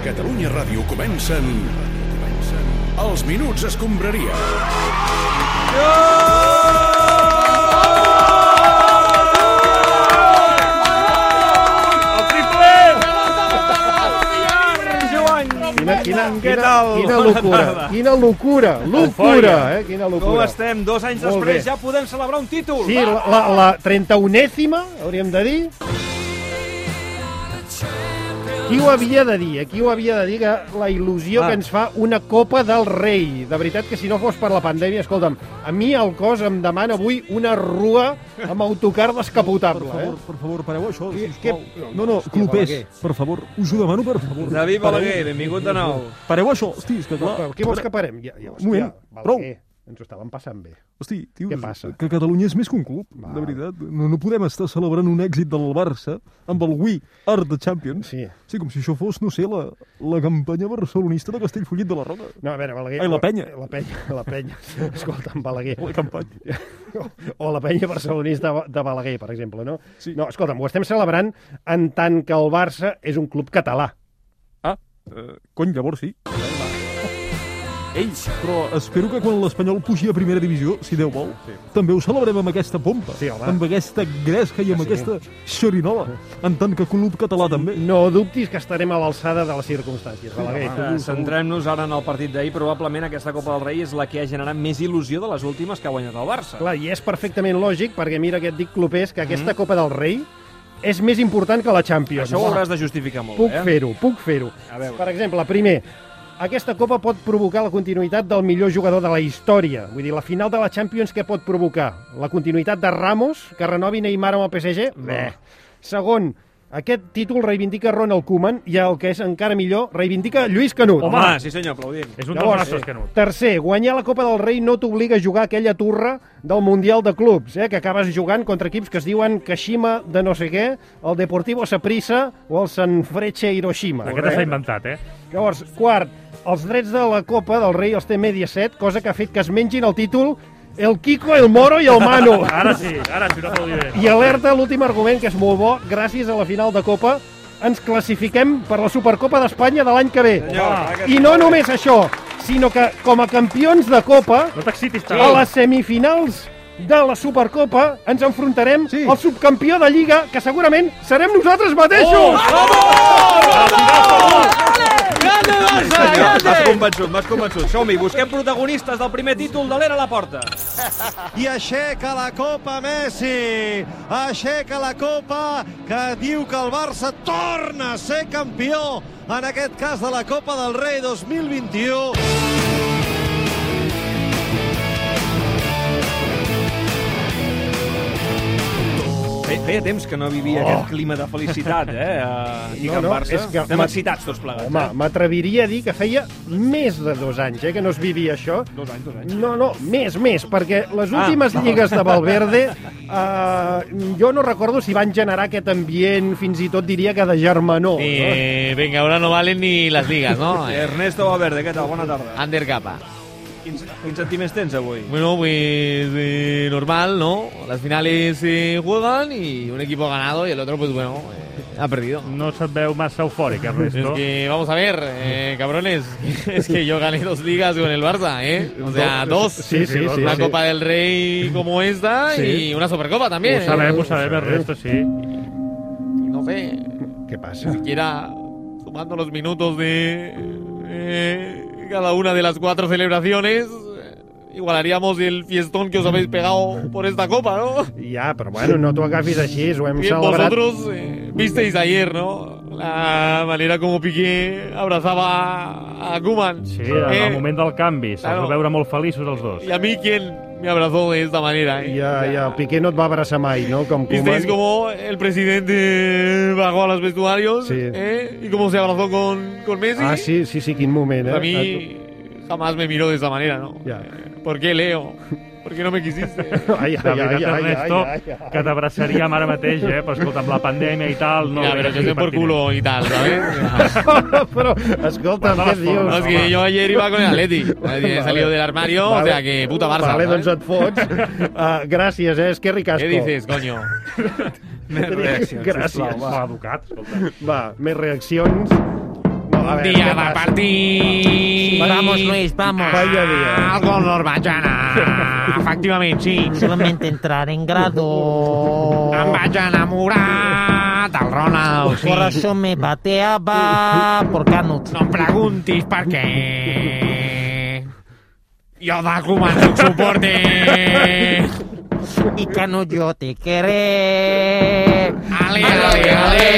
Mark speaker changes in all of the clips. Speaker 1: Catalunya Ràdio comencen... comencen Els Minuts Escombraria.
Speaker 2: Quina, quina,
Speaker 3: Què
Speaker 2: quina,
Speaker 3: tal?
Speaker 2: quina
Speaker 3: Bona
Speaker 2: locura,
Speaker 3: tarda.
Speaker 2: quina locura, locura,
Speaker 3: Eufòria.
Speaker 2: eh? Quina locura.
Speaker 3: Com estem? Dos anys
Speaker 2: Molt
Speaker 3: després
Speaker 2: bé.
Speaker 3: ja podem celebrar un títol.
Speaker 2: Sí, la, la, la 31èsima, hauríem de dir. Qui ho havia de dir? eh? Qui ho havia de dir? Que la il·lusió
Speaker 3: Ah.
Speaker 2: que ens fa una Copa del Rei. De veritat que si no fos per la pandèmia, escolta'm, a mi el cos em demana avui una rua amb autocar descapotable. Eh?
Speaker 4: per favor, pareu això,
Speaker 2: Què- què-
Speaker 4: No, no,
Speaker 2: Hòstia,
Speaker 4: clubers,
Speaker 2: Balaguer.
Speaker 4: per favor, us ho demano, per favor.
Speaker 3: David Balaguer,
Speaker 4: Pareu.
Speaker 3: benvingut de nou.
Speaker 4: Pareu això, hosti, és que clar...
Speaker 2: Però què vols que parem? Ja, ja,
Speaker 4: Un
Speaker 2: hòstia,
Speaker 4: moment, prou.
Speaker 2: Balaguer, Ens ho estàvem passant bé.
Speaker 4: Hosti, tios,
Speaker 2: Què passa?
Speaker 4: que Catalunya és més que un club,
Speaker 2: Va.
Speaker 4: de veritat. No, no podem estar celebrant un èxit del Barça amb el We Are the Champions.
Speaker 2: Sí.
Speaker 4: Sí, com si això fos, no sé, la, la campanya barcelonista de Castellfollit de la Roca.
Speaker 2: No, a veure, Balaguer...
Speaker 4: Ai, la penya.
Speaker 2: La penya, la penya. Escolta'm, Balaguer.
Speaker 4: La campanya.
Speaker 2: o la penya barcelonista de Balaguer, per exemple, no?
Speaker 4: Sí.
Speaker 2: No, escolta'm, ho estem celebrant en tant que el Barça és un club català.
Speaker 4: Ah, eh, cony, llavors sí. Ells. Però espero que quan l'Espanyol pugi a primera divisió, si Déu vol, sí. també ho celebrem amb aquesta pompa,
Speaker 2: Sí, home.
Speaker 4: amb aquesta gresca i amb
Speaker 2: Sí.
Speaker 4: aquesta xerinola, en tant que club català també.
Speaker 2: No dubtis que estarem a l'alçada de les circumstàncies, Balaguer.
Speaker 3: Eh,
Speaker 2: segur, segur.
Speaker 3: Centrem-nos ara en el partit d'ahir. Probablement aquesta Copa del Rei és la que ha generat més il·lusió de les últimes que ha guanyat el Barça. Mhm.
Speaker 2: Clar, i és perfectament lògic, perquè mira que et dic, Clopés, que aquesta Copa del Rei és més important que la Champions.
Speaker 3: Això ho hauràs de justificar molt,
Speaker 2: Puc
Speaker 3: eh?
Speaker 2: fer-ho, puc fer-ho.
Speaker 3: A veure.
Speaker 2: Per exemple, primer, aquesta Copa pot provocar la continuïtat del millor jugador de la història. Vull dir, la final de la Champions què pot provocar? La continuïtat de Ramos, que renovi Neymar amb el PSG? Bé. Segon, aquest títol reivindica Ronald Koeman i el que és encara millor, reivindica Lluís Canut.
Speaker 3: Home, sí senyor, aplaudim.
Speaker 5: És un
Speaker 2: Llavors,
Speaker 5: dels nostres Canut.
Speaker 2: Tercer, guanyar la Copa del Rei no t'obliga a jugar aquella turra del Mundial de Clubs, eh, que acabes jugant contra equips que es diuen Kashima de no sé què, el Deportivo Saprissa o el Sanfrecce Hiroshima.
Speaker 5: Aquest
Speaker 2: Eh?
Speaker 5: s'ha inventat, eh?
Speaker 2: Llavors, quart, els drets de la Copa del Rei els té Mediaset, cosa que ha fet que es mengin el títol el Kiko, el Moro i el Mano.
Speaker 5: Ara sí, ara sí, un aplaudiment.
Speaker 2: I alerta, l'últim argument, que és molt bo, gràcies a la final de Copa ens classifiquem per la Supercopa d'Espanya de l'any que ve. Ah.
Speaker 3: Senyor, clar que sí.
Speaker 2: I no només això, sinó que com a campions de Copa,
Speaker 5: No t'excitis tant.
Speaker 2: a les semifinals de la Supercopa ens enfrontarem
Speaker 4: Sí.
Speaker 2: al subcampió de Lliga, que segurament serem nosaltres mateixos!
Speaker 3: Senyor, M'has convençut, m'has convençut. Som-hi, busquem protagonistes del primer títol de l'era a la porta.
Speaker 6: i E aixeca la Copa Messi. Aixeca la Copa que diu que el Barça torna a ser campió, en aquest cas de la Copa del Rei 2021.
Speaker 3: Fe- Feia temps que no vivia aquest clima de felicitat, eh? A Lliga
Speaker 2: No,
Speaker 3: Oh. no,
Speaker 2: no,
Speaker 3: no, Barça.
Speaker 2: és que-
Speaker 3: Estem excitats tots plegats.
Speaker 2: Home, m'atreviria a dir que feia més de dos anys eh, que no es vivia això.
Speaker 3: eh? Dos anys, dos anys.
Speaker 2: No, no, més, més, perquè les
Speaker 7: Ah.
Speaker 2: últimes lligues de Valverde eh, jo no recordo si van generar aquest ambient, fins i tot diria que de germanor. no?
Speaker 7: Eh, venga, ahora no valen ni las ligas, ¿no? Eh,
Speaker 3: Ernesto Valverde, què tal? Bona tarda.
Speaker 7: Under capa.
Speaker 3: Quins, quins sentiments tens avui?
Speaker 7: Bueno, pues eh, normal, ¿no? Las finales se juegan y un equipo ha ganado y el otro, pues bueno, eh, ha perdido.
Speaker 5: No se't veu massa eufòric,
Speaker 7: Es
Speaker 5: Ernesto.
Speaker 7: que vamos a ver, eh, cabrones, es que yo gané dos ligas con el Barça, ¿eh? O sea, dos.
Speaker 2: Sí, sí, sí.
Speaker 7: Una
Speaker 2: sí.
Speaker 7: Copa del Rey como esta y una Supercopa también.
Speaker 5: Ho sabem,
Speaker 7: eh.
Speaker 5: ho sabem, pues Ernesto, sí.
Speaker 2: Mm.
Speaker 7: No sé,
Speaker 2: Què passa?
Speaker 7: siquiera sumando los minutos de eh, cada una de las cuatro celebraciones, eh, igualaríamos el fiestón que os habéis pegado por esta copa, ¿no?
Speaker 2: Ja, Ah, però bueno, no t'ho agafis així, ho hem
Speaker 7: Bien,
Speaker 2: celebrat.
Speaker 7: vosotros eh, visteis ayer, ¿no? La manera como Piqué abrazaba a Eh, Kuman.
Speaker 5: Sí, en el moment del canvi. Se'ls
Speaker 7: Claro.
Speaker 5: va veure molt feliços, els dos.
Speaker 7: Y a mí, ¿quién me abrazó de esta manera? eh?
Speaker 2: Ja, ja, el Piqué no et va abraçar mai, no? Com
Speaker 7: Visteis
Speaker 2: Koeman.
Speaker 7: como el presidente bajó a los vestuarios
Speaker 2: Sí.
Speaker 7: ¿eh? y cómo se abrazó con, con Messi.
Speaker 2: Ah, sí, sí, sí, quin moment, eh?
Speaker 7: eh, A mí jamás me miró de esa manera, ¿no?
Speaker 2: Ya.
Speaker 7: ¿Por qué, Leo? ¿Por qué no me quisiste?
Speaker 2: Ai, ai,
Speaker 5: De
Speaker 2: ai, ai,
Speaker 5: veritat,
Speaker 2: ai,
Speaker 5: Ernesto,
Speaker 2: ai, ai, ai.
Speaker 5: que t'abraçaríem ara mateix, eh? Però escolta, amb la pandèmia i tal... No
Speaker 7: Mira, pero yo soy por culo y tal, ¿sabes?
Speaker 2: però, escolta,
Speaker 5: Guarda
Speaker 2: què
Speaker 5: les
Speaker 2: dius?
Speaker 7: No, es que yo ayer iba con el Atleti. He salido del armario, o sea que puta Barça.
Speaker 2: Vale,
Speaker 7: ¿sabes?
Speaker 2: doncs et fots. Uh, gràcies, eh? És que ricasco.
Speaker 7: ¿Qué dices, coño?
Speaker 3: Més reaccions,
Speaker 2: Gràcies.
Speaker 3: sisplau, va.
Speaker 5: Mal educat, escolta.
Speaker 2: Va, més reaccions. No, A
Speaker 7: un
Speaker 2: ver,
Speaker 7: día
Speaker 2: ¿qué
Speaker 7: va a
Speaker 2: pasa?
Speaker 7: partir.
Speaker 8: Vamos, Luis, vamos.
Speaker 2: Vaya día.
Speaker 7: Algo nos vayan Efectivamente, Ah, sí.
Speaker 8: Solamente entrar en grado.
Speaker 7: Em vaig enamorar del Ronald, sí.
Speaker 8: Corazón me bateaba por Canut.
Speaker 7: No em preguntis per què. Jo de comandar suporte.
Speaker 8: Y Canut yo te queré.
Speaker 7: Ale, ale, ale.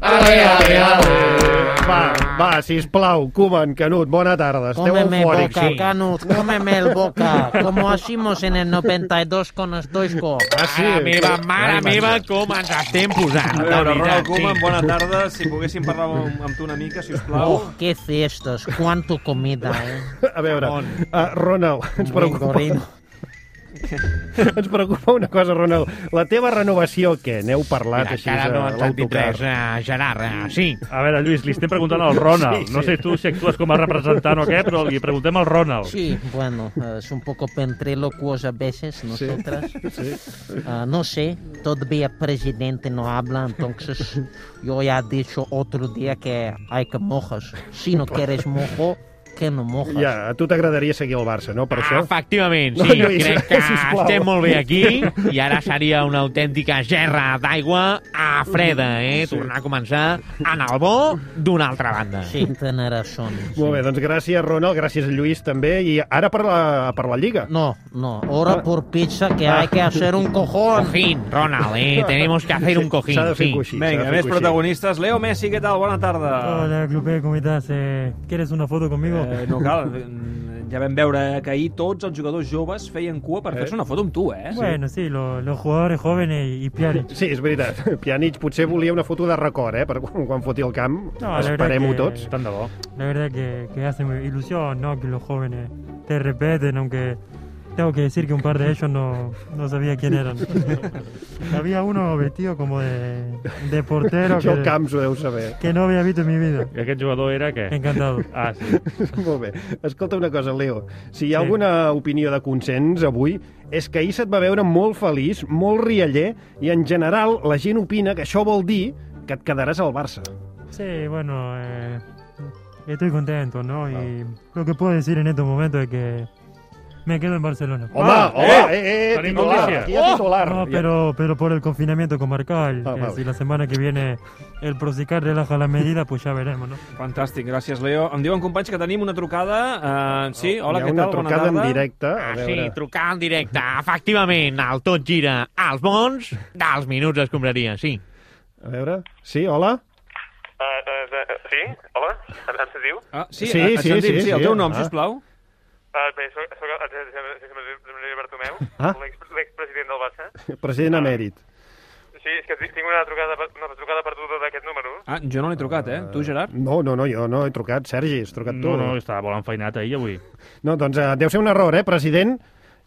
Speaker 7: Ale, ale, ale.
Speaker 2: Va, va, sisplau, Koeman, Canut, bona tarda. Esteu
Speaker 8: Cómeme
Speaker 2: eufòrics.
Speaker 8: boca, Canut, cómeme el boca. Como hacimos en el 92 con Stoico.
Speaker 2: Ah, sí?
Speaker 7: Mare meva, mare
Speaker 2: Ai,
Speaker 7: meva, com ens estem posant.
Speaker 3: A
Speaker 7: la
Speaker 3: veure,
Speaker 7: veritat,
Speaker 3: Ronald Koeman,
Speaker 7: sí.
Speaker 3: bona tarda. Si poguéssim parlar amb, amb tu una mica, si us plau.
Speaker 8: Oh, qué fiestas, cuánto comida, eh.
Speaker 2: A veure, uh, Ronald, ens preocupa,
Speaker 8: Gorino.
Speaker 2: ens preocupa una cosa, Ronald. La teva renovació, què? N'heu parlat
Speaker 7: Mira,
Speaker 5: "Ah,
Speaker 2: així eh,
Speaker 7: encara no
Speaker 2: a
Speaker 7: ens han dit
Speaker 2: l'autocar?
Speaker 7: res, eh, Gerard, eh, sí.
Speaker 5: A veure, Lluís, li estem preguntant al Ronald. No sé tu si actues com a representant o què, però li preguntem al Ronald.
Speaker 8: Sí, bueno, eh, es un poco ventrilocuos a veces nosotras. Ah, no sé, todavía presidente no habla, entonces yo ya he dicho otro día que hay que mojas. Si no quieres mojo, que no mojas.
Speaker 2: Ja, a tu t'agradaria seguir el Barça,
Speaker 7: Ah,
Speaker 2: no? Per això?
Speaker 7: Efectivament,
Speaker 2: No,
Speaker 7: sí.
Speaker 2: Lluís,
Speaker 7: Crec que
Speaker 2: sisplau.
Speaker 7: estem molt bé aquí i ara seria una autèntica gerra d'aigua a freda, eh? Tornar a començar en el bo d'una altra banda.
Speaker 8: Sí, tienes razón.
Speaker 2: Molt bé, doncs gràcies, Ronald, gràcies, Lluís, també. I ara per la, per la Lliga. Ah.
Speaker 8: No, no, ahora por pizza que hay que hacer un cojón.
Speaker 7: Cojín, Ronald, eh? Tenemos que hacer un cojín.
Speaker 2: S'ha de fer
Speaker 7: sí.
Speaker 2: coixí. s'ha de
Speaker 3: Vinga,
Speaker 2: fer
Speaker 3: més
Speaker 2: coixí.
Speaker 3: protagonistes. Leo Messi, què tal? Bona tarda.
Speaker 9: Hola, Clupe, ¿cómo estás? Eh, ¿Quieres una foto conmigo?
Speaker 3: Eh, no cal, mm, ja vam veure que ahir tots els jugadors joves feien cua per fer-se una foto amb tu, eh?
Speaker 9: bueno, sí, lo- los jugadores jóvenes y, y Pjanic.
Speaker 2: Sí, és veritat. Pjanic potser volia una foto de record, eh? Per quan, quan foti el camp.
Speaker 9: la veritat
Speaker 2: Esperem-ho
Speaker 9: que-
Speaker 2: tots.
Speaker 5: Tant de bo.
Speaker 9: La verdad que, que hace muy ilusión, ¿no? Que los jóvenes te respeten, aunque tengo que decir que un par de ellos no, no sabía quién eran. había uno vestido como de, de portero
Speaker 2: Això
Speaker 9: que,
Speaker 2: el Camps ho deu saber.
Speaker 9: que no había visto en mi vida.
Speaker 3: Eh.
Speaker 5: I aquest jugador era què?
Speaker 9: Encantado.
Speaker 5: Ah, sí.
Speaker 2: Molt bé. Escolta una cosa, Leo. Si hi ha alguna opinió de consens avui, és que ahir se't va veure molt feliç, molt rialler, i en general la gent opina que això vol dir que et quedaràs al Barça.
Speaker 9: Sí, bueno, eh, estoy contento, ¿no? Y
Speaker 3: Ah.
Speaker 9: lo que puedo decir en estos momentos es que me quedo en Barcelona.
Speaker 2: Home, ah, home, eh, eh, eh
Speaker 5: Tenim
Speaker 2: titular,
Speaker 5: notícia.
Speaker 2: aquí hi ha titular.
Speaker 9: No, pero, pero por el confinamiento comarcal,
Speaker 2: Ah,
Speaker 9: que
Speaker 2: vale.
Speaker 9: si la semana que viene el Prosicar relaja la medida, pues ya veremos, ¿no?
Speaker 3: Fantàstic, gràcies, Leo. Em diuen, companys, que tenim una trucada. Uh, sí, hola,
Speaker 2: hi ha
Speaker 3: què
Speaker 2: una
Speaker 3: tal? Bona
Speaker 2: trucada
Speaker 3: tarda.
Speaker 2: en directe. A
Speaker 7: Ah, sí,
Speaker 2: veure.
Speaker 7: trucar en directe. Efectivament, el tot gira als bons dels minuts d'escombraria, sí.
Speaker 2: A veure. Sí, hola?
Speaker 10: Eh, sí? Hola? Em sentiu?
Speaker 3: Ah, sí,
Speaker 2: Sí,
Speaker 3: sí,
Speaker 2: sí,
Speaker 3: sí, sentim,
Speaker 2: sí,
Speaker 3: sí, el
Speaker 2: sí.
Speaker 3: teu nom,
Speaker 2: Ah.
Speaker 3: sisplau.
Speaker 10: Uh, bé, soc, soc el Josep Bartomeu,
Speaker 2: Ah.
Speaker 10: l'expresident del Barça. Ah,
Speaker 3: Ah.
Speaker 2: President emèrit.
Speaker 10: Sí, és que tinc una trucada, una trucada perduda d'aquest número.
Speaker 3: Ah, jo no l'he trucat, eh? Tu, Gerard?
Speaker 2: No, no, no, jo no he trucat, Sergi, has trucat tu.
Speaker 5: No, no, estava molt enfeinat ahir, avui.
Speaker 2: No, doncs eh, deu ser un error, eh, president?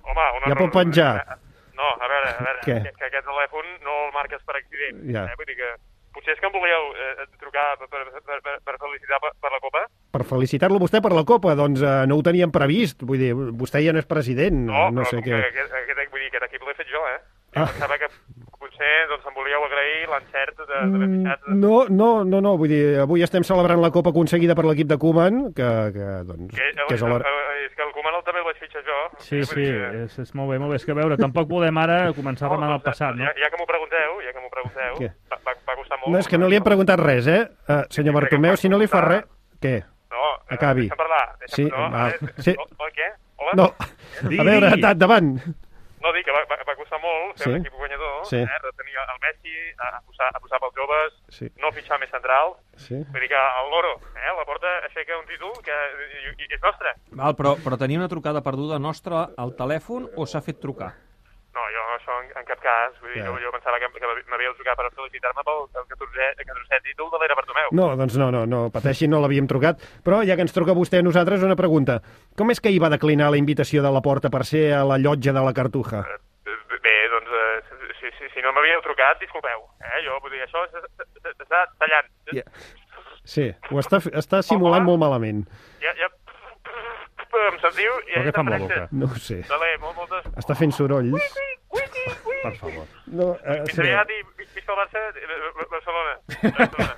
Speaker 10: Home, eh. una...
Speaker 2: Ja pot penjar.
Speaker 10: Ah, No, a veure, a veure,
Speaker 2: Què?
Speaker 10: que, que aquest telèfon no el marques per accident.
Speaker 2: Ja.
Speaker 10: Eh? Vull dir que potser és que em volíeu eh, trucar per, per, per, per, per felicitar per, per la Copa?
Speaker 2: Per felicitar-lo a vostè per la Copa, doncs eh, no ho teníem previst. Vull dir, vostè ja no és president, no, no sé
Speaker 10: però
Speaker 2: què.
Speaker 10: que- Aquest, aquest, vull dir, aquest equip l'he fet jo, eh?
Speaker 2: Ah.
Speaker 10: Ah. Pensava que potser doncs, em volíeu agrair l'encert de, eh, de
Speaker 2: Mm.
Speaker 10: haver fitxat...
Speaker 2: No, no, no, no, vull dir, avui estem celebrant la Copa aconseguida per l'equip de Koeman, que, que doncs,
Speaker 10: Que, eh,
Speaker 2: que és l'hora...
Speaker 10: és que el Koeman el també el vaig fitxar jo.
Speaker 5: Sí,
Speaker 10: Eh, vull
Speaker 5: sí,
Speaker 10: dir que-
Speaker 5: és, és molt bé, molt bé. És que a veure, tampoc podem ara començar a remar
Speaker 10: No,
Speaker 5: el passat, no?
Speaker 10: Ja, ja que m'ho pregunteu, ja que m'ho pregunteu,
Speaker 2: Què?
Speaker 10: va, va, va costar molt.
Speaker 2: No, és que no li hem preguntat res, eh? Uh, senyor Bartomeu, si no li fa res... Què?
Speaker 10: No, eh,
Speaker 2: Acabi.
Speaker 10: Deixa'm parlar. Deixa'm,
Speaker 2: Sí,
Speaker 10: no,
Speaker 2: va,
Speaker 10: eh,
Speaker 2: sí.
Speaker 10: O, o, què? Hola?
Speaker 2: No,
Speaker 5: Digui,
Speaker 2: a veure,
Speaker 5: digui.
Speaker 2: endavant.
Speaker 10: No, dic que va, va, va costar molt fer
Speaker 2: Sí.
Speaker 10: sí. un equip guanyador,
Speaker 2: Sí.
Speaker 10: sí. eh, retenir el Messi, a, a, posar, a posar pels joves,
Speaker 2: Sí.
Speaker 10: no fitxar més central.
Speaker 2: Sí.
Speaker 10: Vull dir que el Loro, eh, la porta aixeca un títol que i, i és nostre.
Speaker 3: Val, però, però tenia una trucada perduda nostra al telèfon o s'ha fet trucar?
Speaker 10: No, jo això en, en cap cas, vull dir,
Speaker 2: Ja.
Speaker 10: jo, jo pensava que, que m'havíeu trucat per felicitar-me pel 14è, 14è títol de l'era Bartomeu.
Speaker 2: No, doncs no, no, no, pateixi, no l'havíem trucat. Però ja que ens truca vostè a nosaltres, una pregunta. Com és que hi va declinar la invitació de la porta per ser a la llotja de la Cartuja?
Speaker 10: Eh, Bé, doncs, eh, si, si, si no m'havíeu trucat, disculpeu. Eh? Jo, vull dir, això s- s- s- s'està tallant.
Speaker 2: Ja. Sí, ho està, està simulant molt malament.
Speaker 10: Ja, ja... Em sentiu? Ja
Speaker 5: Però què fa amb la boca?
Speaker 2: No ho sé.
Speaker 10: Dale, molt, moltes...
Speaker 2: Està fent sorolls.
Speaker 5: Per favor.
Speaker 2: No, eh,
Speaker 10: Fins
Speaker 2: sí.
Speaker 10: aviat i visca el Barça, eh, eh, Barcelona. Barcelona.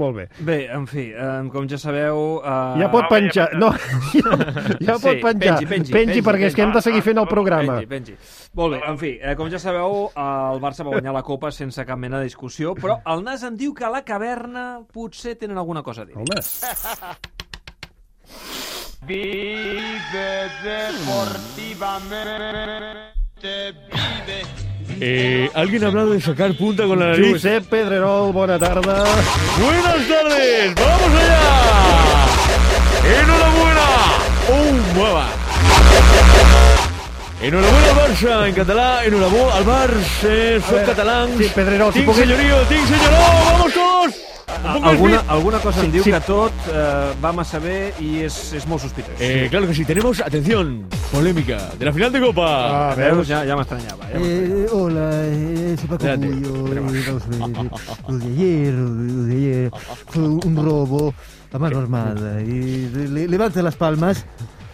Speaker 2: Molt bé.
Speaker 3: Bé, en fi, eh, com ja sabeu... Eh...
Speaker 2: Ja pot penjar. No, ja, ja pot penjar.
Speaker 3: Pengi, pengi,
Speaker 2: Pengi, perquè és que hem de seguir fent el programa.
Speaker 3: Pengi, pengi. Molt bé, en fi, eh, com ja sabeu, eh, el Barça va guanyar la Copa sense cap mena de discussió, però el Nas em diu que a la caverna potser tenen alguna cosa a dir.
Speaker 2: Home.
Speaker 11: Vive deportivamente, vive.
Speaker 12: Eh, ¿Alguien ha hablado de sacar punta con la nariz? eh?
Speaker 2: Josep Pedrerol, bona tarda.
Speaker 12: Buenas tardes, vamos allá. Enhorabuena. Un mueva. Enhorabuena Barça en català, enhorabuena al Barça, eh, soc catalans. Sí,
Speaker 2: Pedrerol,
Speaker 12: tinc senyorio, tinc senyoró, vamos tots! Un poc més
Speaker 3: Alguna,
Speaker 12: fit.
Speaker 3: alguna cosa em
Speaker 12: Sí,
Speaker 3: diu
Speaker 12: sí.
Speaker 3: que tot eh, va massa bé i és, és molt sospitós.
Speaker 12: Eh, claro que sí, tenemos, atención, polémica de la final de Copa.
Speaker 3: Ah, veus, ja, ja m'estranyava. Eh?
Speaker 13: Eh, hola, eh, soy Paco
Speaker 12: Espérate,
Speaker 13: Bullo. eh, vamos a ver, eh, lo de ayer, lo de, lo de ayer fue un robo a mano armada. Y le- le- levanta las palmas,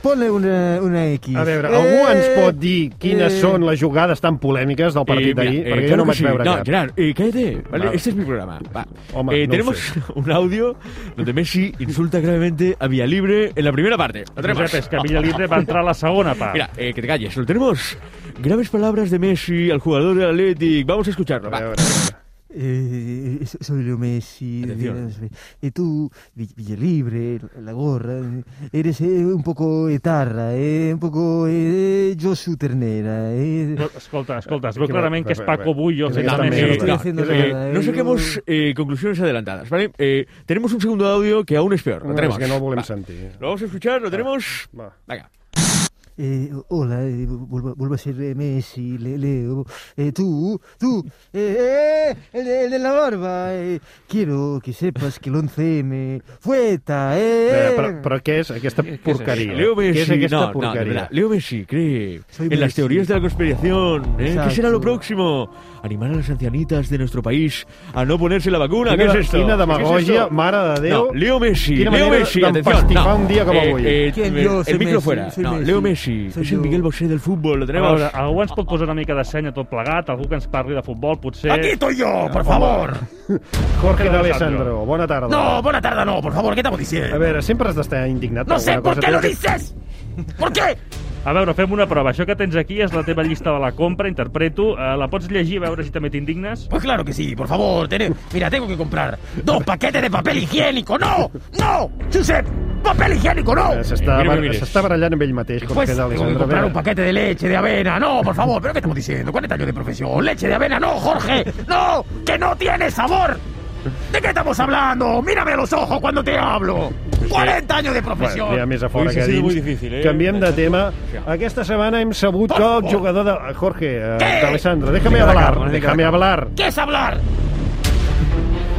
Speaker 13: ponle una, una X.
Speaker 2: A veure, algú ens
Speaker 13: Eh,
Speaker 2: pot dir quines
Speaker 13: eh,
Speaker 2: són les jugades tan polèmiques del
Speaker 12: Eh,
Speaker 2: partit
Speaker 12: mira,
Speaker 2: d'ahir?
Speaker 12: eh,
Speaker 2: Perquè jo
Speaker 12: claro que
Speaker 2: no en vaig
Speaker 12: sí.
Speaker 2: veure
Speaker 12: No,
Speaker 2: cap.
Speaker 12: Gerard, eh, cállate, ¿vale?
Speaker 2: Vale.
Speaker 12: Este es mi programa. va.
Speaker 2: Home,
Speaker 12: Eh,
Speaker 2: no ho
Speaker 12: tenemos
Speaker 2: sé.
Speaker 12: un audio donde Messi insulta gravemente a Villalibre en la primera parte. Lo tenemos.
Speaker 5: Josep, es que Villalibre va a entrar a la segunda part.
Speaker 12: Mira, eh, que te calles, lo tenemos. Graves palabras de Messi al jugador del Athletic. Vamos a escucharlo. va.
Speaker 13: Eh, eh, soy Leo Messi.
Speaker 12: Atención.
Speaker 13: eh, eh, tú, Vill- Villalibre, la gorra, eh, eres eh, un poco etarra, eh, un poco eh, Josu Ternera. Eh.
Speaker 5: Escolta, escolta, es veu clarament que és Paco Bullo fent
Speaker 12: No,
Speaker 5: de
Speaker 12: eh,
Speaker 5: Messi.
Speaker 12: no, eh, no saquemos eh, conclusiones adelantadas, ¿vale? Eh, tenemos un segundo audio que aún es peor. Lo
Speaker 2: No,
Speaker 12: tenemos.
Speaker 2: és que no eh. el volem
Speaker 12: Va.
Speaker 2: sentir.
Speaker 12: Lo vamos a escuchar, lo tenemos. Venga.
Speaker 13: Eh, hola, eh, vuelvo, vuelvo a ser eh, Messi, Le- Leo. Eh, tú, tú, eh, eh, el, de- el de la barba. eh, quiero que sepas que el 11M fue ETA. Eh,
Speaker 2: Veure, però, però què és
Speaker 14: Eh,
Speaker 2: aquesta porqueria?
Speaker 12: Leo
Speaker 2: Què és
Speaker 12: Messi,
Speaker 2: aquesta
Speaker 12: no, no, de
Speaker 2: porqueria?
Speaker 12: verdad, Leo Messi cree
Speaker 2: Soy
Speaker 12: en las
Speaker 2: Messi.
Speaker 12: teorías de la conspiración. ¿eh? ¿Qué será
Speaker 2: Exacto.
Speaker 12: lo próximo? Animar a las ancianitas de nuestro país a no ponerse la vacuna.
Speaker 2: Quina-
Speaker 12: ¿Qué es esto?
Speaker 2: quina
Speaker 12: ¿Qué es
Speaker 2: demagogia,
Speaker 12: esto?
Speaker 2: mare de Déu.
Speaker 12: No, Leo Messi, Leo
Speaker 2: Quina manera
Speaker 12: Messi, atención.
Speaker 2: d'empastifar
Speaker 12: no.
Speaker 2: un dia com
Speaker 12: Eh,
Speaker 2: avui.
Speaker 12: eh, eh, el micro fuera.
Speaker 5: soy
Speaker 12: No,
Speaker 5: Messi,
Speaker 12: Leo Messi,
Speaker 5: soy
Speaker 12: es el
Speaker 5: yo.
Speaker 12: Miguel Bosé del fútbol, lo
Speaker 5: A
Speaker 12: tenemos.
Speaker 5: veure, algú ens pot posar una mica de senya tot plegat, algú que ens parli de futbol, potser...
Speaker 12: Aquí estoy yo, por favor.
Speaker 2: Jorge D'Alessandro, bona tarda.
Speaker 14: No, bona tarda no, por favor, què estamos diciendo?
Speaker 2: A veure, sempre has d'estar indignat.
Speaker 14: No sé
Speaker 2: alguna
Speaker 14: por
Speaker 2: cosa
Speaker 14: qué
Speaker 2: tens
Speaker 14: lo
Speaker 2: que-
Speaker 14: dices. ¿Por qué?
Speaker 5: A veure, fem una prova. Això que tens aquí és la teva llista de la compra, interpreto. Eh, la pots llegir, a veure si també t'indignes?
Speaker 14: Pues claro que sí, por favor, tené- mira, tengo que comprar dos paquetes de papel higiénico. ¡No! ¡No! ¡Josep! ¡Papel higiénico, no!
Speaker 2: Eh, S'està
Speaker 14: Mira,
Speaker 2: bar-
Speaker 14: mira, mira.
Speaker 2: s'està barallant amb ell mateix,
Speaker 14: Pues
Speaker 2: Jorge
Speaker 14: tengo que
Speaker 2: D'Alessandro.
Speaker 14: comprar
Speaker 2: a
Speaker 14: un
Speaker 2: veure.
Speaker 14: paquete de leche de avena. No, por favor, ¿pero qué estamos diciendo? 40 años de profesión. ¡Leche de avena, no, Jorge! ¡No! ¡Que no tiene sabor! ¿De qué estamos hablando? Mírame a los ojos cuando te hablo. 40 años de profesión.
Speaker 2: Bueno, ja més a fora que a dins.
Speaker 12: eh?
Speaker 2: Canviem de tema. Aquesta setmana hem sabut que el jugador de... Jorge, eh, D'Alessandro, déjame
Speaker 12: Vinga, de
Speaker 2: hablar,
Speaker 12: calma, vinga, de
Speaker 2: déjame
Speaker 12: calma.
Speaker 2: hablar.
Speaker 14: ¿Qué es hablar?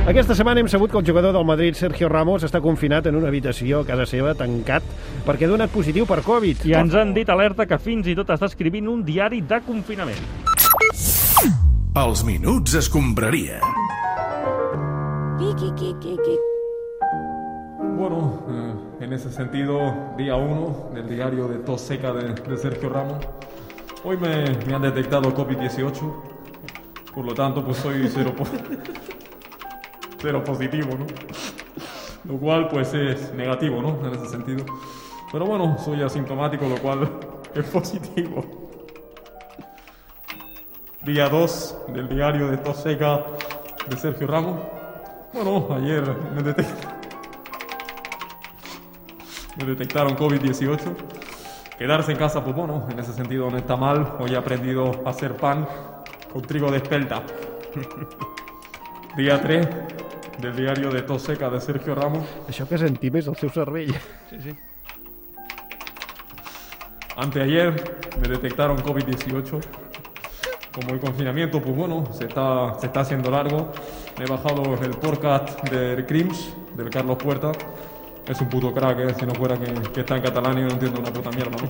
Speaker 2: Aquesta setmana hem sabut que el jugador del Madrid, Sergio Ramos, està confinat en una habitació a casa seva, tancat, perquè ha donat positiu per Covid.
Speaker 5: I ens han dit alerta que fins i tot està escrivint un diari de confinament.
Speaker 1: Els minuts escombraria.
Speaker 15: Bueno, eh, en ese sentido, día 1 del diario de tos seca de, de Sergio Ramos. Hoy me, me han detectado COVID-18, por lo tanto, pues soy cero, po- cero positivo, ¿no? Lo cual, pues es negativo, ¿no? En ese sentido. Pero bueno, soy asintomático, lo cual es positivo. Día 2 del diario de tos seca de Sergio Ramos. Bueno, ayer me detectaron. me detectaron COVID-18. Quedarse en casa, pues bueno, en ese sentido no está mal. Hoy he aprendido a hacer pan con trigo de espelta. Día 3 del diario de tos seca de Sergio Ramos.
Speaker 2: Això que sentim és el seu cervell.
Speaker 15: Sí, sí. Anteayer me detectaron COVID-18. Como el confinamiento, pues bueno, se está, se está haciendo largo. Me he bajado el podcast del Crims, del Carlos Puerta. Es un puto crack, eh, si no fuera que, que está en catalán y no entiendo una puta mierda, ¿no?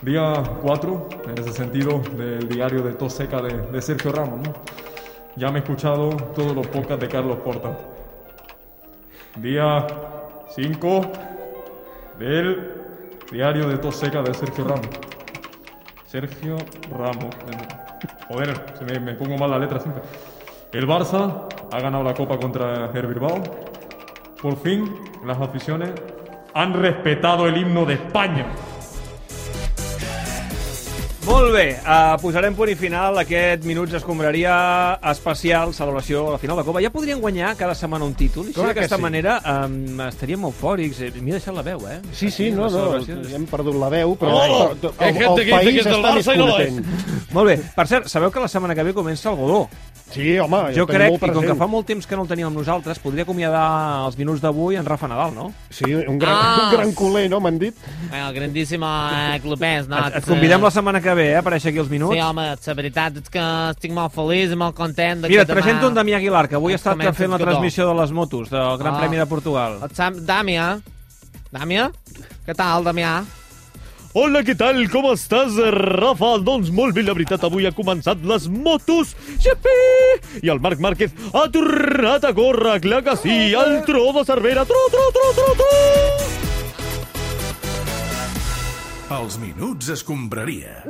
Speaker 15: Día 4, en ese sentido, del diario de tos seca de, de Sergio Ramos, ¿no? Ya me he escuchado todos los podcasts de Carlos Porta. Día 5 del diario de tos seca de Sergio Ramos. Sergio Ramos. Joder, se me, me pongo mal la letra siempre. El Barça ha ganado la Copa contra el Bilbao. Por fin, las aficiones han respetado el himno de España.
Speaker 3: Molt bé, uh, posarem punt i final a aquest Minuts Escombraria especial, celebració a la final de Copa. Ja podrien guanyar cada setmana un títol, i així
Speaker 2: Clar que
Speaker 3: d'aquesta
Speaker 2: sí.
Speaker 3: manera um, estaríem eufòrics. Eh, M'hi he deixat la veu, eh?
Speaker 2: Sí, sí, no,
Speaker 3: les
Speaker 2: no,
Speaker 3: celebracions.
Speaker 2: hem perdut la veu, però
Speaker 3: Oh,
Speaker 2: però-
Speaker 3: que gente
Speaker 2: el,
Speaker 3: que
Speaker 2: el
Speaker 3: dice que
Speaker 2: país
Speaker 3: es del
Speaker 2: està més
Speaker 3: Barça i no lo
Speaker 2: content.
Speaker 3: Molt bé, per cert, sabeu que la setmana que ve comença el Godó.
Speaker 2: Sí, home,
Speaker 3: jo
Speaker 2: ho tenim
Speaker 3: crec,
Speaker 2: molt
Speaker 3: i com
Speaker 2: present.
Speaker 3: que fa molt temps que no el teníem amb nosaltres, podria acomiadar els minuts d'avui en Rafa Nadal, no?
Speaker 2: Sí, un gran, ah. un gran culer, no, m'han dit?
Speaker 16: El grandíssim eh, clubers, no?
Speaker 3: Et, et convidem la setmana que ve, eh, a aparèixer aquí els minuts.
Speaker 16: Sí, home, la veritat és que estic molt feliç i molt content. de
Speaker 3: Mira, et
Speaker 16: que demà
Speaker 3: presento en Damià Aguilar, que avui ha
Speaker 16: ens
Speaker 3: estat
Speaker 16: comença
Speaker 3: fent la
Speaker 16: el Godó.
Speaker 3: transmissió de les motos del Gran
Speaker 16: Ah.
Speaker 3: Premi de Portugal.
Speaker 16: El Sam, Damià. Damià? Què tal, Damià?
Speaker 12: Hola, què tal? Com estàs, Rafa? Doncs molt bé, la veritat, avui ha començat les motos GP! I el Marc Márquez ha tornat a córrer, clar que sí! El tro de Cervera, tro, tro, tro, tro, tro!
Speaker 1: Els minuts escombraria.